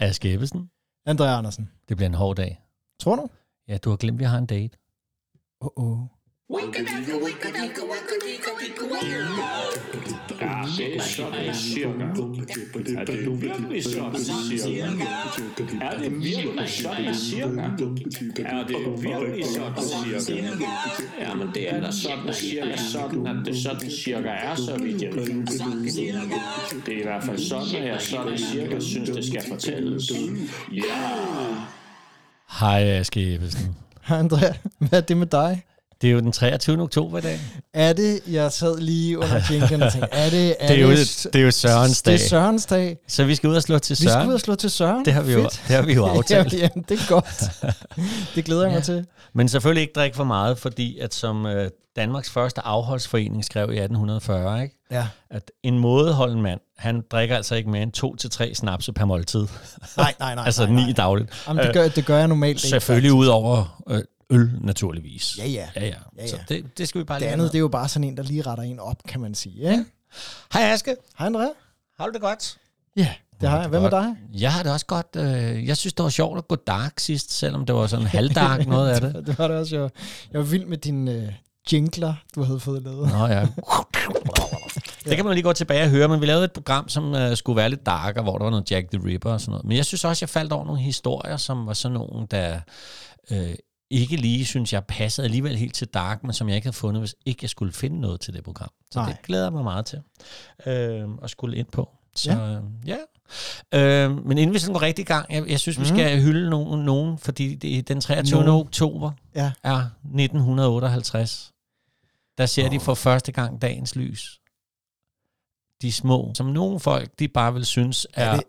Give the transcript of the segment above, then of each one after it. Aske Ebbesen, Andrea Andersen. det bliver en hård dag. Tror du? Ja, du har glemt, vi har en date. Åh, oh, oh. Ja, det er sådan, cirka. Er det virkelig sådan, cirka? Er det virkelig sådan, cirka? Er det virkelig sådan, cirka? Ja, men det er da sådan, cirka, sådan, at det sådan, cirka er, så vidt jeg ved. Det er i hvert fald sådan, at jeg sådan, cirka synes, det skal fortælles. Ja! Hej Aske Ebbesen. Hej Andrea, hvad er det med dig? Det er jo den 23. oktober i dag. Er det, jeg sad lige under jinglen og tænkte, er det, er Det er jo, det er jo Sørens dag. Det er Sørens dag. Så vi skal ud og slå til Vi skal Søren. ud og slå til Søren. Det har vi jo, Fedt. det har vi jo aftalt. Ja, jamen, det er godt. Det glæder jeg mig til. Men selvfølgelig ikke drikke for meget, fordi at som øh, Danmarks første afholdsforening skrev i 1840, ikke? Ja. at en mådeholden mand, han drikker altså ikke mere end to til tre snapse per måltid. Nej, nej, nej. altså nej, nej. ni dagligt. Øh, Jamen, det, gør, det gør jeg normalt ikke. Selvfølgelig ud over øh, øl, naturligvis. Ja, ja. ja, ja. Ja, Så ja. det, det skal vi bare Det lige andet, have det er jo bare sådan en, der lige retter en op, kan man sige. Ja? med. Hej Aske, Hej Andrea. har du det godt? Ja, det har jeg. Hvad med dig? Jeg har det også godt. Øh, jeg synes, det var sjovt at gå dark sidst, selvom det var sådan halvdark noget af det. Det var det også. Jeg, jeg var vild med dine øh, jingler, du havde fået lavet. Nå ja. Det kan man lige gå tilbage og høre, men vi lavede et program, som øh, skulle være lidt darker, hvor der var noget Jack the Ripper og sådan noget. Men jeg synes også, jeg faldt over nogle historier, som var sådan nogle, der øh, ikke lige, synes jeg, passede alligevel helt til dark, men som jeg ikke havde fundet, hvis ikke jeg skulle finde noget til det program. Så Nej. Nej. det glæder jeg mig meget til øh, at skulle ind på. Så Ja. ja. ja. Øh, men inden vi sådan går rigtig i gang, jeg, jeg synes, vi skal hylde nogen, nogen fordi det, den 23. Mhm. Nogen. oktober Ja. er 1958 der ser de for første gang dagens lys. De små, som nogle folk, de bare vil synes er, Er er, det-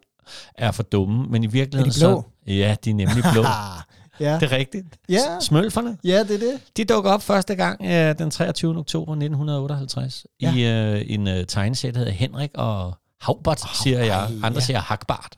er for dumme, men i virkeligheden Er de blå? så... Ja, de er nemlig blå. Ah, ja. det er rigtigt. Ja. S- Smølferne, ja, det er det. de dukker op første gang øh, den 23. oktober 1958 ja. i øh, en øh, tegneserie, der hedder Henrik og Havbart, oh, siger jeg. ej, Andre ja. ja. siger Hagbart.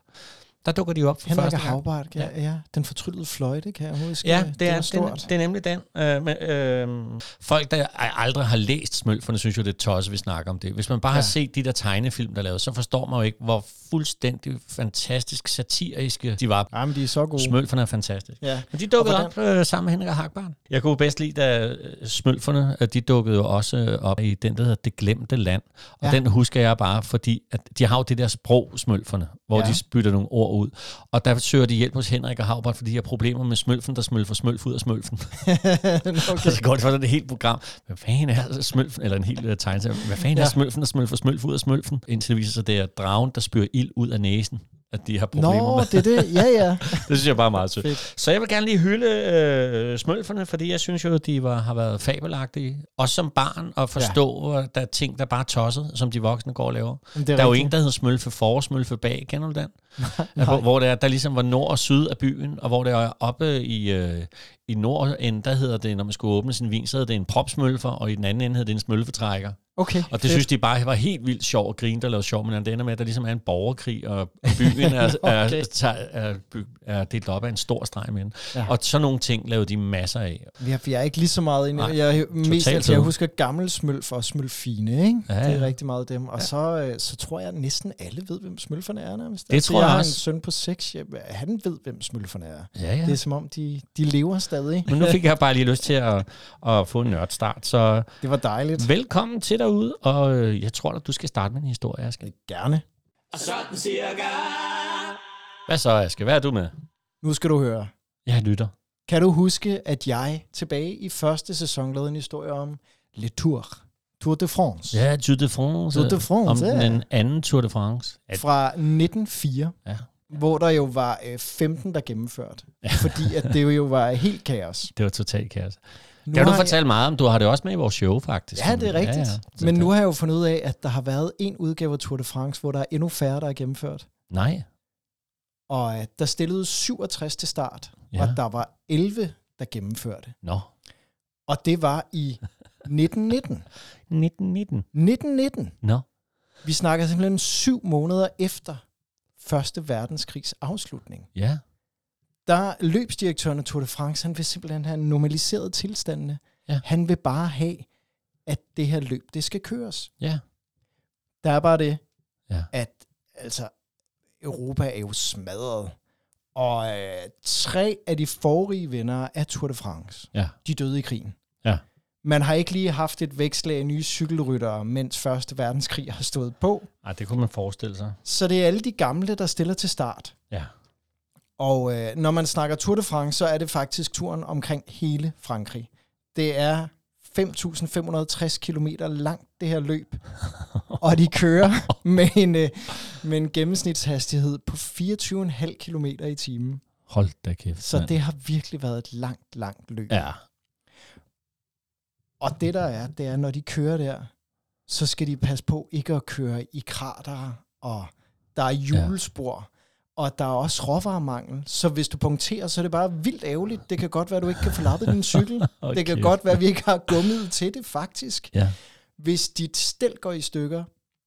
Der dukker de op for Henrik første og gang. Havbart, ja, ja. Den fortryllede fløjte, kan jeg huske. Ja, det, det, er, var det, er, stort. det er nemlig den. Øh, men, øh, folk, der aldrig har læst Smølferne, synes jo, det er tosset, vi snakker om det. Hvis man bare ja. har set de der tegnefilm, der er lavet, så forstår man jo ikke, hvor fuldstændig fantastisk satiriske de var. Jamen, de er så gode. Smølferne er fantastiske. Ja. Men de dukkede Og op øh, sammen med Henrik og Hagbarn. Jeg kunne bedst lide, da øh, smølferne, øh, de dukkede jo også øh, op i den, der hedder Det Glemte Land. Og Ja. ja. den husker jeg bare, fordi at de har jo det der sprog, smølferne, hvor Ja. ja. de spytter nogle ord ud. Og der søger de hjælp hos Henrik og Havbart, fordi de har problemer med smølfen, der smølfer smølf ud af smølfen. okay. Og så går det for sådan et helt program. Hvad fanden er smølfen? Eller en helt uh, tegnserie. Hvad fanden ja. Ja. er smølfen, der smølfer smølf ud af smølfen? Indtil det viser sig, det er dragen, der spyrer ild ud af næsen at de har Nå, problemer med. det er det. Ja, ja. Det synes jeg bare er meget sødt. Fedt. Så jeg vil gerne lige hylde øh, smølferne, fordi jeg synes jo, de var, har været fabelagtige. Også som barn at forstå, ja. der er ting, der bare er tosset, som de voksne går og laver. Jamen, det Der er jo rigtigt. en, der hedder smølfe for og smølfe bag. Kender du den? Nej, hvor, hvor der, der ligesom var nord og syd af byen, og hvor der er oppe i, øh, i nord end, der hedder det, når man skulle åbne sin vin, så hed det en propsmølfer, og i den anden ende hed det en smølfetrækker. Okay, Og det fedt. synes de bare var helt vildt sjovt at grine, der lavede sjov, men det ender med, at der ligesom er en borgerkrig, og og byen er, er, Okay. er, er, by- er delt op af en stor streg med Ja. ja. Og sådan nogle ting lavede de masser af. Vi er, vi er ikke lige så meget inde. Nej, Jeg, er mest, totalt altså, jeg fede. husker gammel smølf og smølfine, ikke? Ja, Det er ja. rigtig meget dem. Og så, øh, så tror jeg, at næsten alle ved, hvem smølferne er nærmest. Altså, Det tror jeg jeg har også. en søn på seks, jeg, han ved, hvem smølferne er. Ja, ja. Det er som om, de, de lever stadig. Men nu fik jeg bare lige lyst til at, at få en nørdstart, så Det var dejligt. velkommen til derude, og øh, jeg tror da, du skal starte med en historie, Aske. Gerne. Hvad så, Aske? Hvad er du med? Nu skal du høre. Jeg lytter. Kan du huske, at jeg tilbage i første sæson lavede en historie om Le Tour? Tour de France. Ja, Tour de France. Tour de France, Om ja. den anden Tour de France. Ja, Fra 1904. ja. hvor der jo var øh, 15, der gennemførte. Fordi at det jo var helt kaos. Det var totalt kaos. Nu Det har du har fortalt meget om. Du har det også med i vores show, faktisk. Jeg, ja, det er rigtigt. Ja, Så ja. Men det- nu har jeg jo fundet ud af, at der har været en udgave af Tour de France, hvor der er endnu færre, der er gennemført. Nej. Og øh, der stillede 67 til start, ja. Ja. og der var 11, der gennemførte. Nå. Og det var i 1919. 1919. 1919. Nå. Vi snakker simpelthen syv måneder efter Første Verdenskrigs afslutning. Ja. der løbsdirektøren af Tour de France, han vil simpelthen have normaliseret tilstandene. Ja. Han vil bare have, at det her løb, det skal køres. Ja. Der er bare det, Ja. at altså, Europa er jo smadret. Og øh, tre af de forrige vinder af Tour de France, Ja. de døde i krigen. Ja. Man har ikke lige haft et vækslag af nye cykelryttere, mens Første Verdenskrig har stået på. Ej, det kunne man forestille sig. Så det er alle de gamle, der stiller til start. Ja. Og øh, når man snakker Tour de France, så er det faktisk turen omkring hele Frankrig. Det er 5.560 km langt, det her løb. Og de kører med en, øh, med en gennemsnitshastighed på 24,5 km i timen. Hold da kæft. Så mand. det har virkelig været et langt, langt løb. Ja. Og det der er, det er, når de kører der, så skal de passe på ikke at køre i krater, og der er hjulspor, ja. og der er også råvaremangel. Så hvis du punkterer, så er det bare vildt ærgerligt. Det kan godt være, du ikke kan få lappet din cykel. Hold det kan kæft. godt være, vi ikke har gummet til det, faktisk. Ja. Hvis dit stel går i stykker,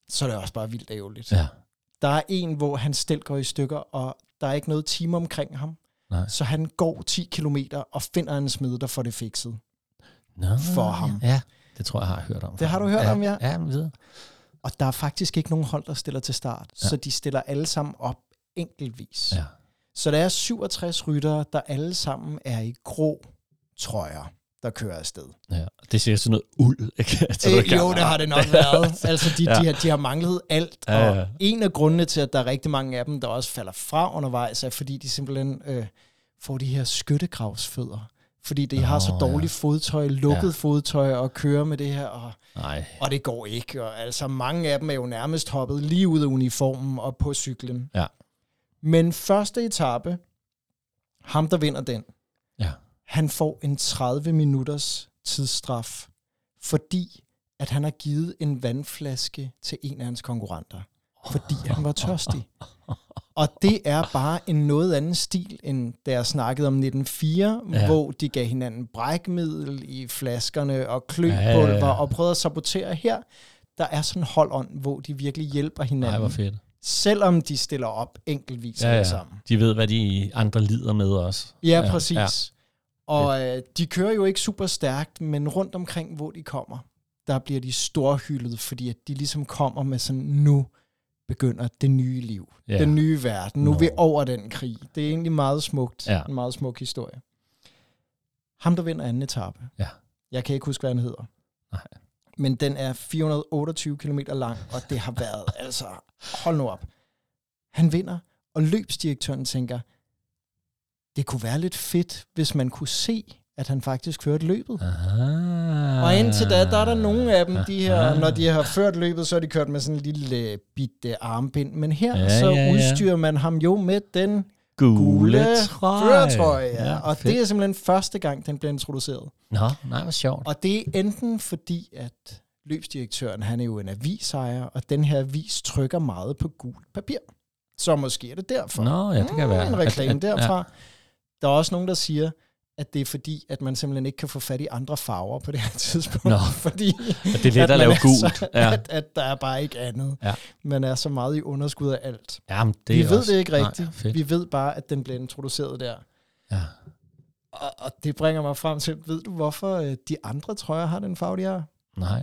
så er det også bare vildt ærgerligt. Ja. Der er en, hvor han stel går i stykker, og der er ikke noget time omkring ham. Nej. Så han går 10 kilometer og finder en smed, der får det fikset. Nå, For ham. Ja, det tror jeg, jeg har hørt om. Det har du hørt ja. om, ja. Ja, men videre. Og der er faktisk ikke nogen hold, der stiller til start. Ja. Så de stiller alle sammen op enkeltvis. Ja. Så der er 67 ryttere, der alle sammen er i grå trøjer, der kører afsted. ja. Det ser sådan noget uld, ikke? Så Øh, jo, det har det nok været. Altså, de, ja. de, Ja. har, de har manglet alt. Ja, ja. Og en af grundene til, at der er rigtig mange af dem, der også falder fra undervejs, er fordi de simpelthen øh, får de her skyttegravsfødder. Fordi de har så Nå, ja. dårligt fodtøj, lukket Ja. fodtøj og kører med det her. Og, Nej. og det går ikke. Og altså, mange af dem er jo nærmest hoppet lige ud af uniformen og på cyklen. Ja. Men første etape, ham der vinder den, Ja. han får en 30 minutters tidsstraf, fordi at han har givet en vandflaske til en af hans konkurrenter, fordi han var tørstig. Og det er bare en noget anden stil, end da jeg snakkede om 1904, ja. Ja. hvor de gav hinanden brækmiddel i flaskerne og Ja, ja, kløpulver ja, ja. og prøvede at sabotere her. Der er sådan en holdånd, hvor de virkelig hjælper Nej, hinanden, hvor fedt. selvom de stiller op enkeltvis Ja, alle ja. sammen. De ved, hvad de andre lider med også. Ja, Ja, præcis. Ja. ja. Og øh, de kører jo ikke super stærkt, men rundt omkring, hvor de kommer, der bliver de storhyldet, fordi at de ligesom kommer med sådan, nu begynder det nye liv, ja. Ja. den nye verden, nu er Nå. vi over den krig. Det er egentlig meget smukt, ja. Ja. en meget smuk historie. Ham, der vinder anden etape, Ja. jeg kan ikke huske, hvad han hedder, Nej. men den er 428 km lang, og det har været, altså, hold nu op. Han vinder, og løbsdirektøren tænker, det kunne være lidt fedt, hvis man kunne se, at han faktisk førte løbet. Aha. Og indtil da, der er der nogle af dem, de her, Aha. når de har ført løbet, så har de kørt med sådan en lille øh, bitte armbind. Men her, ja, Ja, så ja, ja. udstyrer man ham jo med den gule gule trøje. førertrøje. Ja, og fedt. det er simpelthen første gang, den bliver introduceret. Nå, nej, hvor sjovt. Og det er enten fordi, at løbsdirektøren, han er jo en avisejer, og den her avis trykker meget på gult papir. Så måske er det derfor. Nå, ja, det kan Mm, være. En reklame At- at- derfra. Der er også nogen, der siger, at det er fordi, at man simpelthen ikke kan få fat i andre farver på det her tidspunkt. Nå. fordi Ja, at det er let at, man lave er gult. Så, Ja. at, at der er bare ikke andet. Ja. Man er så meget i underskud af alt. Jamen, det Vi er ved også, det ikke Nej, rigtigt. fedt. Vi ved bare, at den blev introduceret der. Ja. Og, og det bringer mig frem til, ved du hvorfor øh, de andre trøjer har den farve, de har? Nej.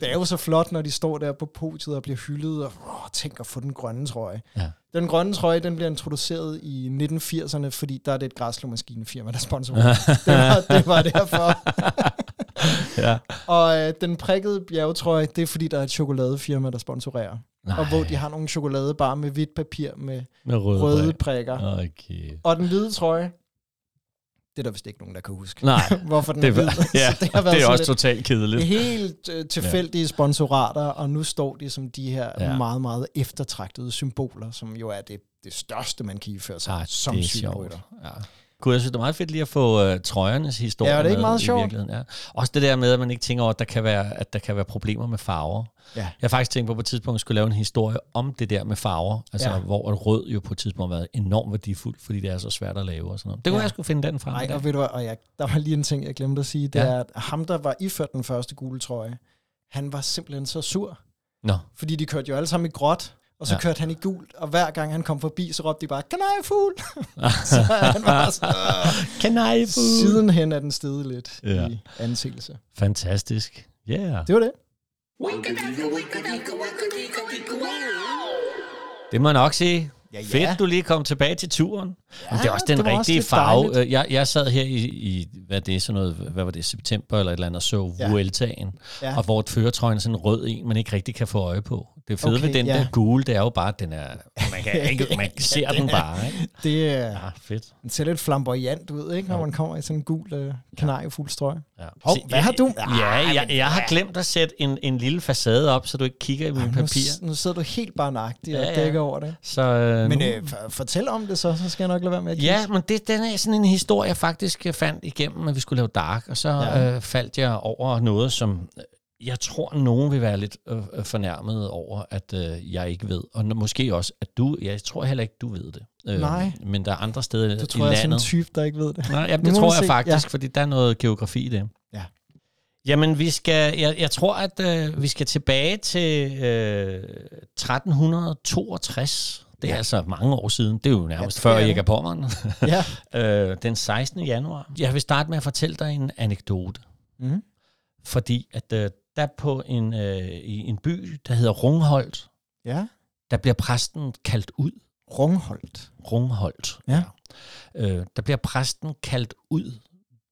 Det er jo så flot, når de står der på podiet og bliver hyldet, og åh, tænk at få den grønne trøje. Ja. Den grønne trøje, den bliver introduceret i 1980'erne, fordi der er det et græslåmaskinefirma, der sponsorer. den. det, var, det var derfor. ja. Og øh, den prikkede bjergetrøje, det er fordi, der er et chokoladefirma, der sponsorerer. Nej. Og hvor de har nogle chokoladebar med hvidt papir med Med røde, røde prikker. Ja. bræk. Okay. Og den hvide trøje, det er der vist ikke nogen, der kan huske. Nej, Hvorfor den det, er hvid. var, ja, Så det, det er sådan også lidt- totalt kedeligt. Helt øh, tilfældige sponsorater, og nu står de som de her ja. Ja. meget, meget eftertragtede symboler, som jo er det, det største, man kan iføre sig Ah, som det er cykelrytter. sjovt. Ja. Gud, jeg synes, det er meget fedt lige at få øh, trøjernes historie Ja, er det ikke med meget i sjovt? virkeligheden, Ja. Også det der med, at man ikke tænker over, at der kan være, at der kan være problemer med farver. Ja. Jeg har faktisk tænkt på, at på et tidspunkt skulle lave en historie om det der med farver. Altså, Ja. ja. hvor at rød jo på et tidspunkt har været enormt værdifuld, fordi det er så svært at lave og sådan noget. Det kunne Ja. ja. jeg skulle finde den frem. Nej, der. og ved du hvad, og jeg, der var lige en ting, jeg glemte at sige, det Ja. er, at ham, der var iført den første gule trøje, han var simpelthen så sur, Nå. fordi de kørte jo alle sammen i gråt, og så ja. Ja. kørte han i gult, og hver gang han kom forbi, så råbte de bare, kanariefugl! så han var sådan, "Åh." Kanariefugl. sidenhen er den stedet lidt ja. Ja. i anseelse. Fantastisk. Yeah. Det var det. Det må jeg nok sige. Ja, ja. Fedt, du lige kom tilbage til turen. Ja, det er også den det var også rigtige lidt farve. dejligt. Øh, Jeg, jeg sad her i, i hvad, det er, sådan noget, hvad var det, september eller et eller andet, og så Ja. ja. Vueltaen, Ja. ja. og hvor trøjen er sådan en rød en, man ikke rigtig kan få øje på. Det fede Okay, okay, ved den ja. ja. der gule, det er jo bare, at den er, man, kan ikke, man ser den bare. Ikke? Det øh, Ja, fedt. den ser lidt flamboyant ud, ikke, når man kommer i sådan en gul øh, kanariefuglstrøje. Ja. Hov, Se, hvad jeg- har du- Ah, Ja, jeg, jeg har glemt at sætte en, en lille facade op, så du ikke kigger i mine Ah, Nu, papirer. s- nu sidder du helt barnagtig og Ja, ja. dækker over det. Så, øh, Men nu- øh, for- fortæl om det så, så skal jeg nok lade være med at kigge. Ja, men det, den er sådan en historie, jeg faktisk øh, fandt igennem, at vi skulle lave Dark, og så Ja. ja. øh, faldt jeg over noget, som øh, jeg tror, nogen vil være lidt øh, øh, fornærmet over, at øh, jeg ikke ved. Og n- måske også, at du, jeg tror heller ikke, du ved det. Øh, Nej. Men der er andre steder Du i tror, jeg er sådan en landet. type, der ikke ved det. Nej, jamen, Nu det må vi tror jeg se. faktisk, ja. fordi der er noget geografi i det. Ja. Jamen, vi skal, jeg, jeg tror, at øh, vi skal tilbage til øh, 1362. Det er ja. altså mange år siden. Det er jo nærmest det ja, før er det. Erik af Pommern. Ja. Øh, den 16. januar. Jeg vil starte med at fortælle dig en anekdote. Mhm. Fordi at øh, der på en, øh, i en by, der hedder Rungholt, ja. der bliver præsten kaldt ud. Rungholt. Rungholt. Ja. Øh, der bliver præsten kaldt ud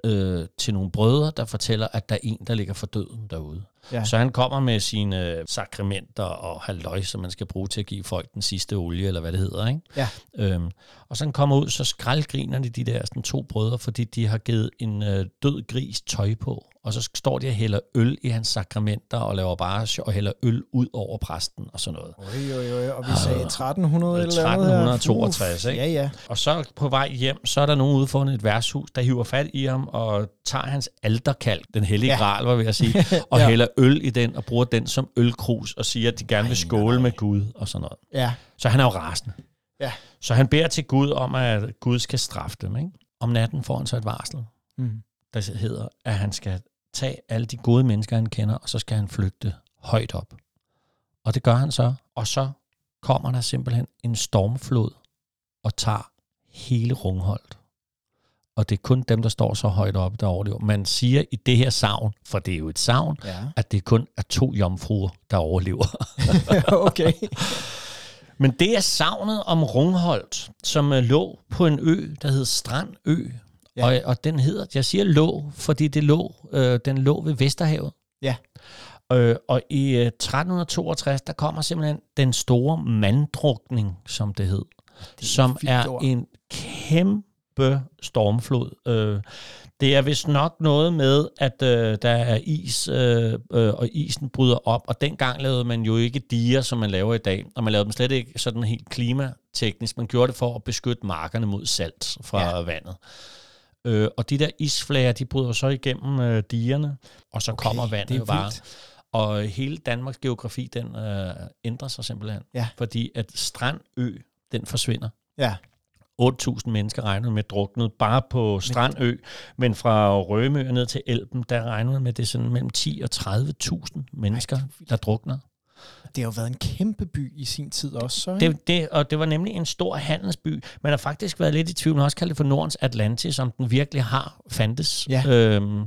øh, til nogle brødre, der fortæller, at der er en, der ligger for døden derude. Ja. Ja. Så han kommer med sine øh, sakramenter og halløj, som man skal bruge til at give folk den sidste olie, eller hvad det hedder. Ikke? Ja. Øhm, og så han kommer ud, så skraldgriner de de der sådan, to brødre, fordi de har givet en øh, død gris tøj på. Og så står de og hælder øl i hans sakramenter og laver bare sjov- og hælder øl ud over præsten og sådan noget. Oj, oj, oj. Og vi sagde 1300 eller andet her. 1362, Uff. ikke? Ja, ja. Og så på vej hjem, så er der nogen udfundet et værtshus, der hiver fat i ham og tager hans alterkalk, den hellige Ja. ja. gral, var jeg ved at sige, og Ja. ja. hælder øl i den og bruger den som ølkrus og siger, at de gerne vil skåle med Gud og sådan noget. Ja. Så han er jo rasende. Ja. Så han beder til Gud om, at Gud skal straffe dem. Ikke? Om natten får han så et varsel, Mm. der hedder, at han skal tage alle de gode mennesker, han kender, og så skal han flygte højt op. Og det gør han så, og så kommer der simpelthen en stormflod og tager hele Rungholt. Og det er kun dem, der står så højt oppe, der overlever. Man siger i det her savn, for det er jo et savn, Ja. at det kun er to jomfruer, der overlever. okay. Men det er savnet om Rungholt, som øh, lå på en ø, der hed Strandø. Ja. Ja. Og, og den hedder, jeg siger lå, fordi det lå, øh, den lå ved Vesterhavet. Ja. Øh, og i øh, 1362, der kommer simpelthen den store manddrukning, som det hed. Det som vildt er ord. en kæmpe stormflod. Øh, det er vist nok noget med, at øh, der er is, øh, øh, og isen bryder op, og dengang lavede man jo ikke diger, som man laver i dag, og man lavede dem slet ikke sådan helt klimateknisk. Man gjorde det for at beskytte markerne mod salt fra ja. vandet. Øh, og de der isflager, de bryder så igennem øh, digerne, og så okay, kommer vandet det er jo bare. vildt. Og hele Danmarks geografi, den øh, ændrer sig simpelthen. Ja. Fordi at Strandø, den forsvinder. Ja. 8.000 mennesker regnede med druknet bare på Strandø, men fra Rømø og ned til Elben, der regnede man med, at det er sådan mellem 10 og 30.000 mennesker, der drukner. Det har jo været en kæmpe by i sin tid også, så, ikke? Det, det, og det var nemlig en stor handelsby. Man har faktisk været lidt i tvivl, man har også kaldt det for Nordens Atlantis, som den virkelig har fandtes. Ja. Øhm,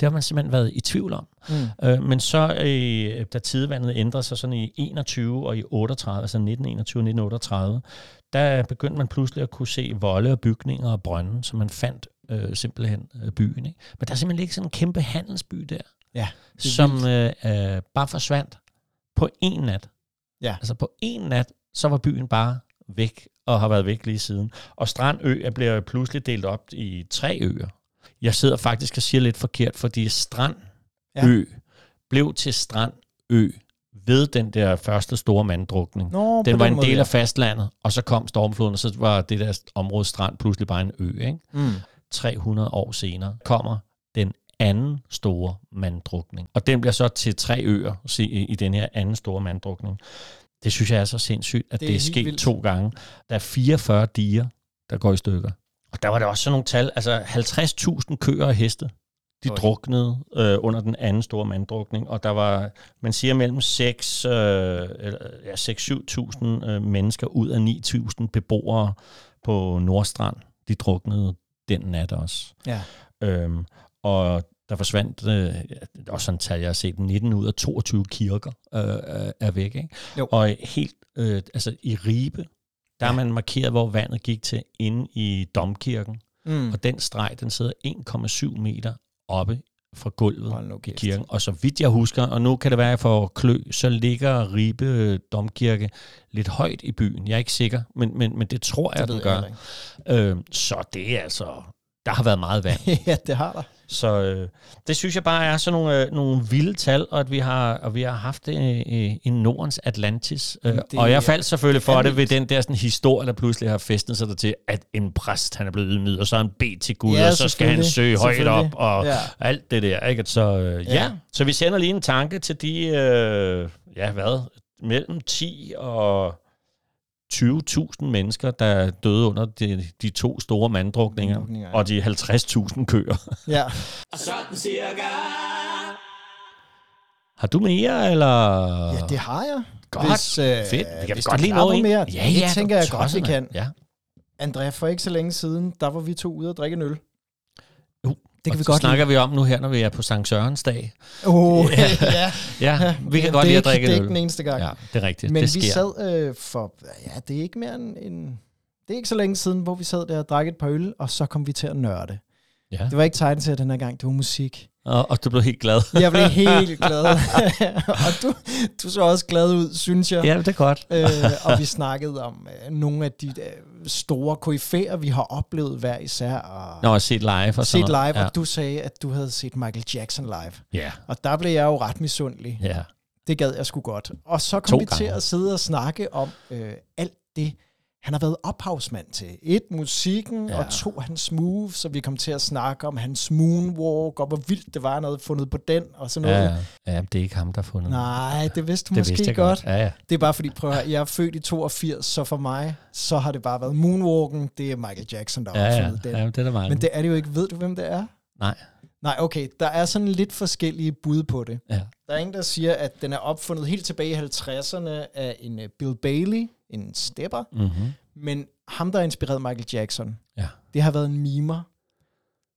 det har man simpelthen været i tvivl om. Mm. Øh, men så, øh, da tidevandet ændrede sig sådan i 21 og i 38, altså 1921 og 1938, der begyndte man pludselig at kunne se volde og bygninger og brønde, så man fandt øh, simpelthen øh, byen. Ikke? Men der er simpelthen ikke sådan en kæmpe handelsby der, Ja, det er som øh, øh, bare forsvandt på en nat. Ja. Altså på en nat, så var byen bare væk og har været væk lige siden. Og Strandø er- bliver pludselig delt op i tre øer. Jeg sidder faktisk og siger lidt forkert, fordi Strandø Ja. ja. blev til Strandø ved den der første store manddrukning. Nå, på Den var en måde, del ja. af fastlandet, og så kom stormfloden, og så var det der område strand pludselig bare en ø. Ikke? Mm. 300 år senere kommer den anden store manddrukning. Og den bliver så til tre øer se, i i den her anden store manddrukning. Det synes jeg er så sindssygt, at Det det er, det er er helt sket vildt. vildt. to gange. Der er 44 diger, der går i stykker. Og der var der også sådan nogle tal, altså 50.000 køer og heste, de Oj. druknede øh, under den anden store manddrukning, og der var, man siger, mellem 6, øh, eller, ja, 6-7.000 øh, mennesker ud af 9.000 beboere på Nordstrand, de druknede den nat også. Ja. Øhm, og der forsvandt, øh, ja, det er også sådan et tal, jeg har set, 19 ud af 22 kirker øh, øh, er væk. Ikke? Jo. Og helt, øh, altså i Ribe, Der har man markeret, hvor vandet gik til inde i domkirken. Mm. Og den streg, den sidder 1,7 meter oppe fra gulvet Hold nu i kæft. kirken. Og så vidt jeg husker, og nu kan det være, at jeg får klø, så ligger Ribe øh, Domkirke lidt højt i byen. Jeg er ikke sikker, men, men, men det tror jeg, Det det den ved gør. jeg Øh, så det er altså... Der har været meget vand. ja, det har der. Så øh, det synes jeg bare er sådan nogle, øh, nogle vilde tal, og at vi har, og vi har haft øh, øh, en Nordens Atlantis. Øh, det og er jeg faldt selvfølgelig for det fandme ved den der sådan, historie, der pludselig har festet sig der til, at en præst han er blevet ydmyg, og så er han bedt til Gud, Ja, ja, og så skal han søge selvfølgelig, højt op, selvfølgelig. og Ja. ja. alt det der. Ikke? At Så, øh, ja. Ja. ja. så vi sender lige en tanke til de, øh, ja hvad, mellem 10 og 20.000 mennesker, der døde under de, de to store manddrukninger, Manddrukninger, ja. og de 50.000 køer. Ja. Har du mere, eller? ja, det har jeg. godt. hvis, øh, Fedt. Vi kan hvis godt du lige nå klapper en. mere, ja, det ja, tænker jeg du godt, vi tosser, kan. mand. Ja. Andrea, for ikke så længe siden, der var vi to ude og drikke en øl. Jo, det kan Uh, og vi så godt snakker vi om nu her, når vi er på Sankt Sørens dag. lide. Oh, ja. ja. Ja, vi kan godt det er lide at drikke en ikke- Det er øl. ikke den eneste gang. Ja, det er rigtigt. Men det vi sker. sad øh, for, ja, det er ikke mere end, en, det er ikke så længe siden, hvor vi sad der og drak et par øl, og så kom vi til at nørde. ja. Det var ikke tegn til den her gang, det var musik. og, og du blev helt glad. Jeg blev helt glad. og du, du så også glad ud, synes jeg. ja, det er godt. øh, og vi snakkede om øh, nogle af de øh, store koryfæer, vi har oplevet hver især, og Nå, at set live og sådan set noget. live, ja. Ja. og du sagde, at du havde set Michael Jackson live. ja. Og der blev jeg jo ret misundelig. ja. Det gad jeg sgu godt. Og så kom To vi til gange. at sidde og snakke om øh, alt det, han har været ophavsmand til. Et, musikken, ja. Ja. og to, hans move, så vi kom til at snakke om hans moonwalk, og hvor vildt det var, han havde fundet på den, og sådan Ja, noget. ja. ja, det er ikke ham, der har fundet det. Nej, det vidste du Det måske vidste jeg godt. godt. Ja, ja. Det er bare fordi, prøv at høre, jeg er født i 82, så for mig, så har det bare været moonwalken, det er Michael Jackson, der har Ja, ja. opfundet den. ja det er der mange. Men det er det jo ikke. Ved du, hvem det er? Nej. Nej, okay. Der er sådan lidt forskellige bud på det. Ja. Der er en, der siger, at den er opfundet helt tilbage i 50'erne af en øh, Bill Bailey, en stepper. Mm-hmm. Men ham, der har inspireret Michael Jackson, Ja. det har været en mimer,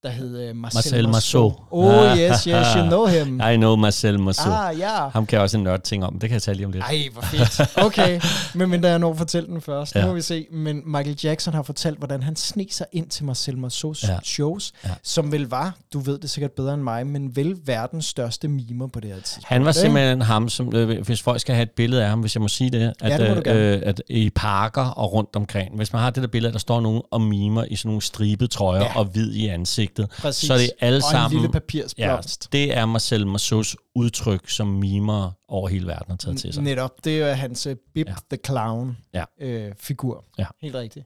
der hed øh, Marcel, Marcel Marceau. Marceau. Ah. Oh yes, yes, you know him. I know Marcel Marceau. Mm. Ah, ja. Ham kan jeg også en nørd ting om. Det kan jeg tale lige om lidt. Ej, hvor fedt. Okay, men mindre jeg når at fortælle den først. Ja. Nu Ja. må vi se. Men Michael Jackson har fortalt, hvordan han sneg sig ind til Marcel Marceaus ja. Ja. shows, ja. Ja. som vel var, du ved det sikkert bedre end mig, men vel verdens største mimer på det her tidspunkt. Han var ikke? simpelthen ham, som, øh, hvis folk skal have et billede af ham, hvis jeg må sige det, at, det må du gerne. øh, at i parker og rundt omkring, hvis man har det der billede, at der står nogen og mimer i sådan nogle stribede trøjer Ja. ja. og hvid i ansigtet, Præcis. så er det alle og sammen... en lille papirsblomst. Ja, det er Marcel Marceaus udtryk, som mimer over hele verden har taget til sig. Netop, det er hans uh, Bip ja. Ja. the Clown-figur. Ja. Øh, figur. Ja. Helt rigtigt.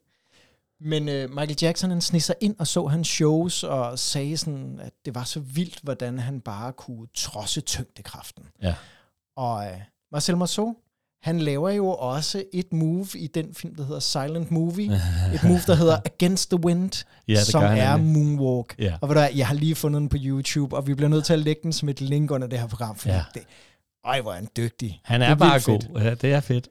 Men øh, Michael Jackson, han sneg sig ind og så hans shows, og sagde sådan, at det var så vildt, hvordan han bare kunne trodse tyngdekraften. Ja. Og øh, Marcel Marceau, han laver jo også et move i den film, der hedder Silent Movie. Et move, der hedder Against the Wind, Ja, det som gør han er nemlig. Moonwalk. Ja. Og ved du hvad, jeg har lige fundet den på YouTube, og vi bliver nødt til at lægge den som et link under det her program, fordi ja. Ja. det, ej, hvor er han dygtig. Han Det er, er bare vildt fedt. god. Ja, det er fedt.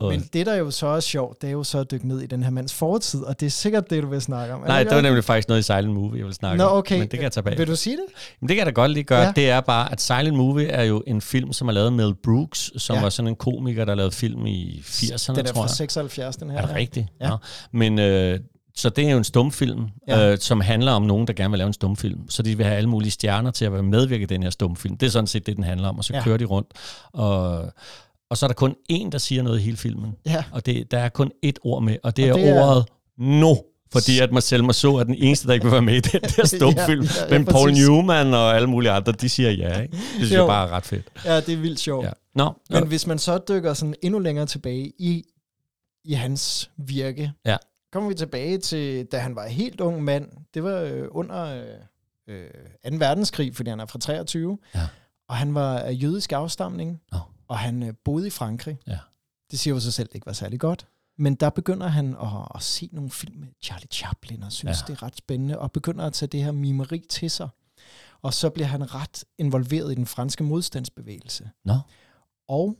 Og, Men det, der jo så er sjovt, det er jo så at dykke ned i den her mands fortid, og det er sikkert det, du vil snakke om. Er nej, ikke det var nemlig faktisk noget i Silent Movie, jeg ville snakke Nå, om. okay. Men det kan jeg tage bag. Vil du sige det? Men det kan jeg da godt lige gøre. Ja. Ja. Det er bare, at Silent Movie er jo en film, som er lavet af Mel Brooks, som Ja. ja. var sådan en komiker, der lavede film i 80'erne, Den er tror fra jeg. 76, den her. Er det rigtigt? Ja. Ja. Men øh, så det er jo en stumfilm, Ja. ja. øh, som handler om nogen, der gerne vil lave en stumfilm. Så de vil have alle mulige stjerner til at være medvirke i den her stumfilm. Det er sådan set det, den handler om, og så Ja. ja. kører de rundt. Og, og så er der kun én, der siger noget i hele filmen. Ja. Og det, der er kun ét ord med, og det, Og og det det er- er ordet no. Fordi at Marcel Marceau er den eneste, der ikke vil være med i den der stumfilm. Ja, ja, ja, Men Paul præcis. Newman og alle mulige andre, de siger ja. Ikke? Det synes Jo. jo. jeg bare er ret fedt. Ja, det er vildt sjovt. Ja. Ja. Nå, Men hvis man så dykker sådan endnu længere tilbage i, i hans virke, Ja. kommer vi tilbage til, da han var helt ung mand. Det var øh, under øh, øh, 2. verdenskrig, fordi han er fra 23. Ja. Og han var af jødisk afstamning, Nå. og han øh, boede i Frankrig. Ja. Det siger jo sig selv, det ikke var særlig godt. Men der begynder han at, at se nogle film med Charlie Chaplin, og synes, ja. Ja. det er ret spændende, og begynder at tage det her mimeri til sig. Og så bliver han ret involveret i den franske modstandsbevægelse. Nå. Og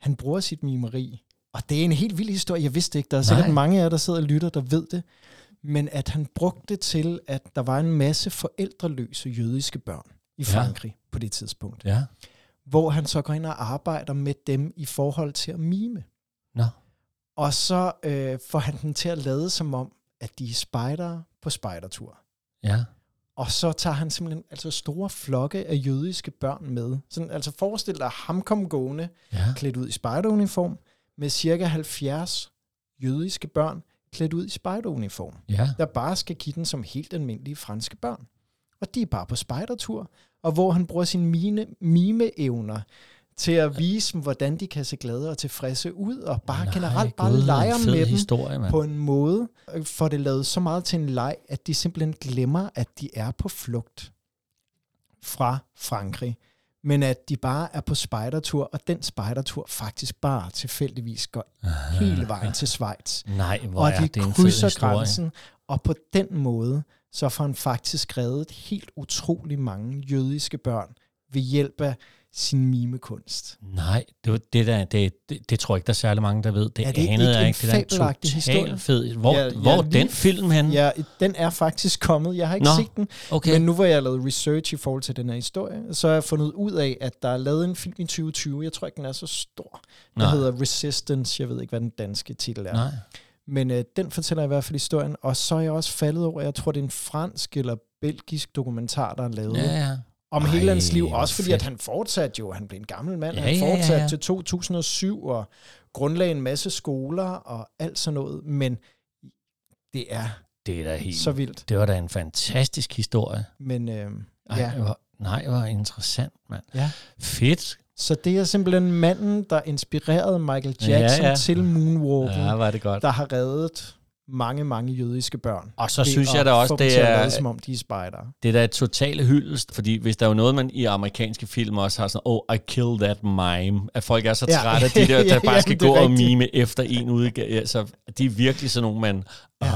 han bruger sit mimeri. Og det er en helt vild historie, jeg vidste ikke. Der er sikkert Nej. mange af jer, der sidder og lytter, der ved det. Men at han brugte det til, at der var en masse forældreløse jødiske børn i Ja. Frankrig ja. på det tidspunkt. ja. Hvor han så går ind og arbejder med dem i forhold til at mime. Nå. Og så øh, får han den til at lade som om, at de er spejdere på spejdertur. Ja. Og så tager han simpelthen altså store flokke af jødiske børn med. Sådan, altså forestil dig ham kom gående, ja. klædt ud i spejderuniform, med cirka 70 jødiske børn klædt ud i spejderuniform, Ja. der bare skal give den som helt almindelige franske børn. Og de er bare på spejdertur, og hvor han bruger sine mine, mimeevner til at vise dem, hvordan de kan se glade og tilfredse ud, og bare Nej, generelt bare gud, leger en fed med dem historie, mand. på en måde, øh, får det lavet så meget til en leg, at de simpelthen glemmer, at de er på flugt fra Frankrig, men at de bare er på spejdertur, og den spejdertur faktisk bare tilfældigvis går hele vejen til Schweiz. Nej, hvor og er de det en fed krydser historie. grænsen, og på den måde, så får han faktisk reddet helt utrolig mange jødiske børn ved hjælp af sin mimekunst. Nej, det, var, det, der, det, det, det tror jeg ikke, der er særlig mange, der ved. Det Er det anede ikke jeg en ikke. Det der er en fabelagtig historie? total fed. Hvor, Ja, ja, ja, hvor er lige- den film han? Ja, den er faktisk kommet. Jeg har ikke Mm. Nå, set den, okay. Okay. Men nu hvor jeg har lavet research i forhold til den her historie, så har jeg fundet ud af, at der er lavet en film i 2020, jeg tror ikke, den er så stor, der Nej. hedder Resistance, jeg ved ikke, hvad den danske titel er. Nej. Men øh, den fortæller i hvert fald historien, og så er jeg også faldet over, jeg tror, det er en fransk eller belgisk dokumentar, der er lavet Ja, ja. om Ej, hele hans liv, hvor også fordi, fedt. at han fortsatte jo, han blev en gammel mand, Ja, han ja, ja, fortsatte ja. til 2007 og grundlagde en masse skoler og alt sådan noget, men det er Det er da helt... så vildt. Det var da en fantastisk historie. Men øh, Ej, ja. ja. hvor, nej, hvor interessant, mand. Ja. Fedt. Så det er simpelthen manden, der inspirerede Michael Jackson Ja, ja, ja. ja. til moonwalking, ja. var det godt. der har reddet mange, mange jødiske børn. Og så Ved synes jeg at da også, få dem det til at er- lade, som om de er spejdere. Det er da et totalt hyldest, fordi hvis der er jo noget, man i amerikanske film også har sådan, oh, I kill that mime, at folk er så Ja. trætte af de der, der Ja, bare skal jamen, det gå er og rigtigt. mime efter en udgave. Ja, så de er virkelig sådan nogle, man... "Åh."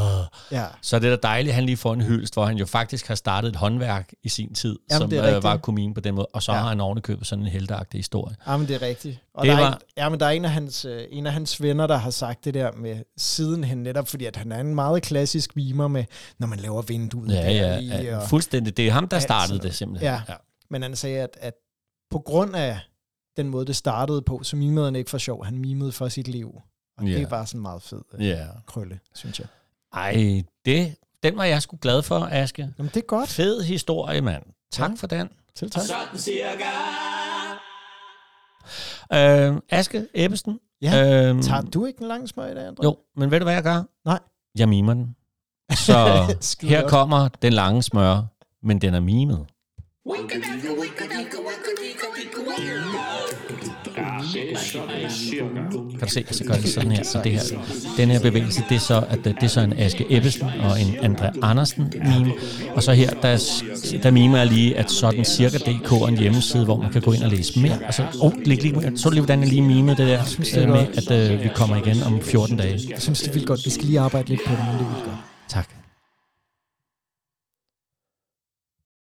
Ja. Så er det er da dejligt, at han lige får en hyldest, hvor han jo faktisk har startet et håndværk i sin tid, Jamen, som det er øh, rigtigt. var komien på den måde, og så ja. Ja. har han ovenikøbet sådan en helteagtig historie. Jamen, det er rigtigt. Og Det det der, var... er, var- en, ja, men der er en af, hans, øh, en af hans venner, der har sagt det der med sidenhen, netop fordi at han er en meget klassisk mimer med, når man laver vinduet. Ja, der ja, lige, ja, og, øh, fuldstændig. Det er ham, der alt startede sådan det noget. simpelthen. Ja. men han sagde, at, at på grund af den måde, det startede på, så mimede han ikke for sjov. Han mimede for sit liv. Og Ja. det er bare sådan meget fed øh, ja. krølle, synes jeg. Ej, det, den var jeg sgu glad for, Aske. Jamen, det er godt. Fed historie, mand. Tak Ja. for den. Selv tak. Sådan cirka. Øh, Aske Ebbesen. Ja, øhm, Tager du ikke en lang smøg i dag, André? Jo, men ved du, hvad jeg gør? Nej. Jeg mimer den. Så Skide her godt. kommer den lange smør, men den er mimet. Ja, det er sådan cirka. Kan du se, så gør det sådan her. Så det her, den her bevægelse, det er så, at øh, det er så en Aske Ebbesen og en André Andersen mime. Og så her, der, s- der mimer jeg lige, at sådan cirka DK er en hjemmeside, hvor man kan gå ind og læse mere. Og så, oh, læg lige, så du lige, hvordan jeg lige mimede det der øh, med, at øh, vi kommer igen om 14 dage. Jeg synes, det er vildt godt. Vi skal lige arbejde lidt på det, men det er vildt godt.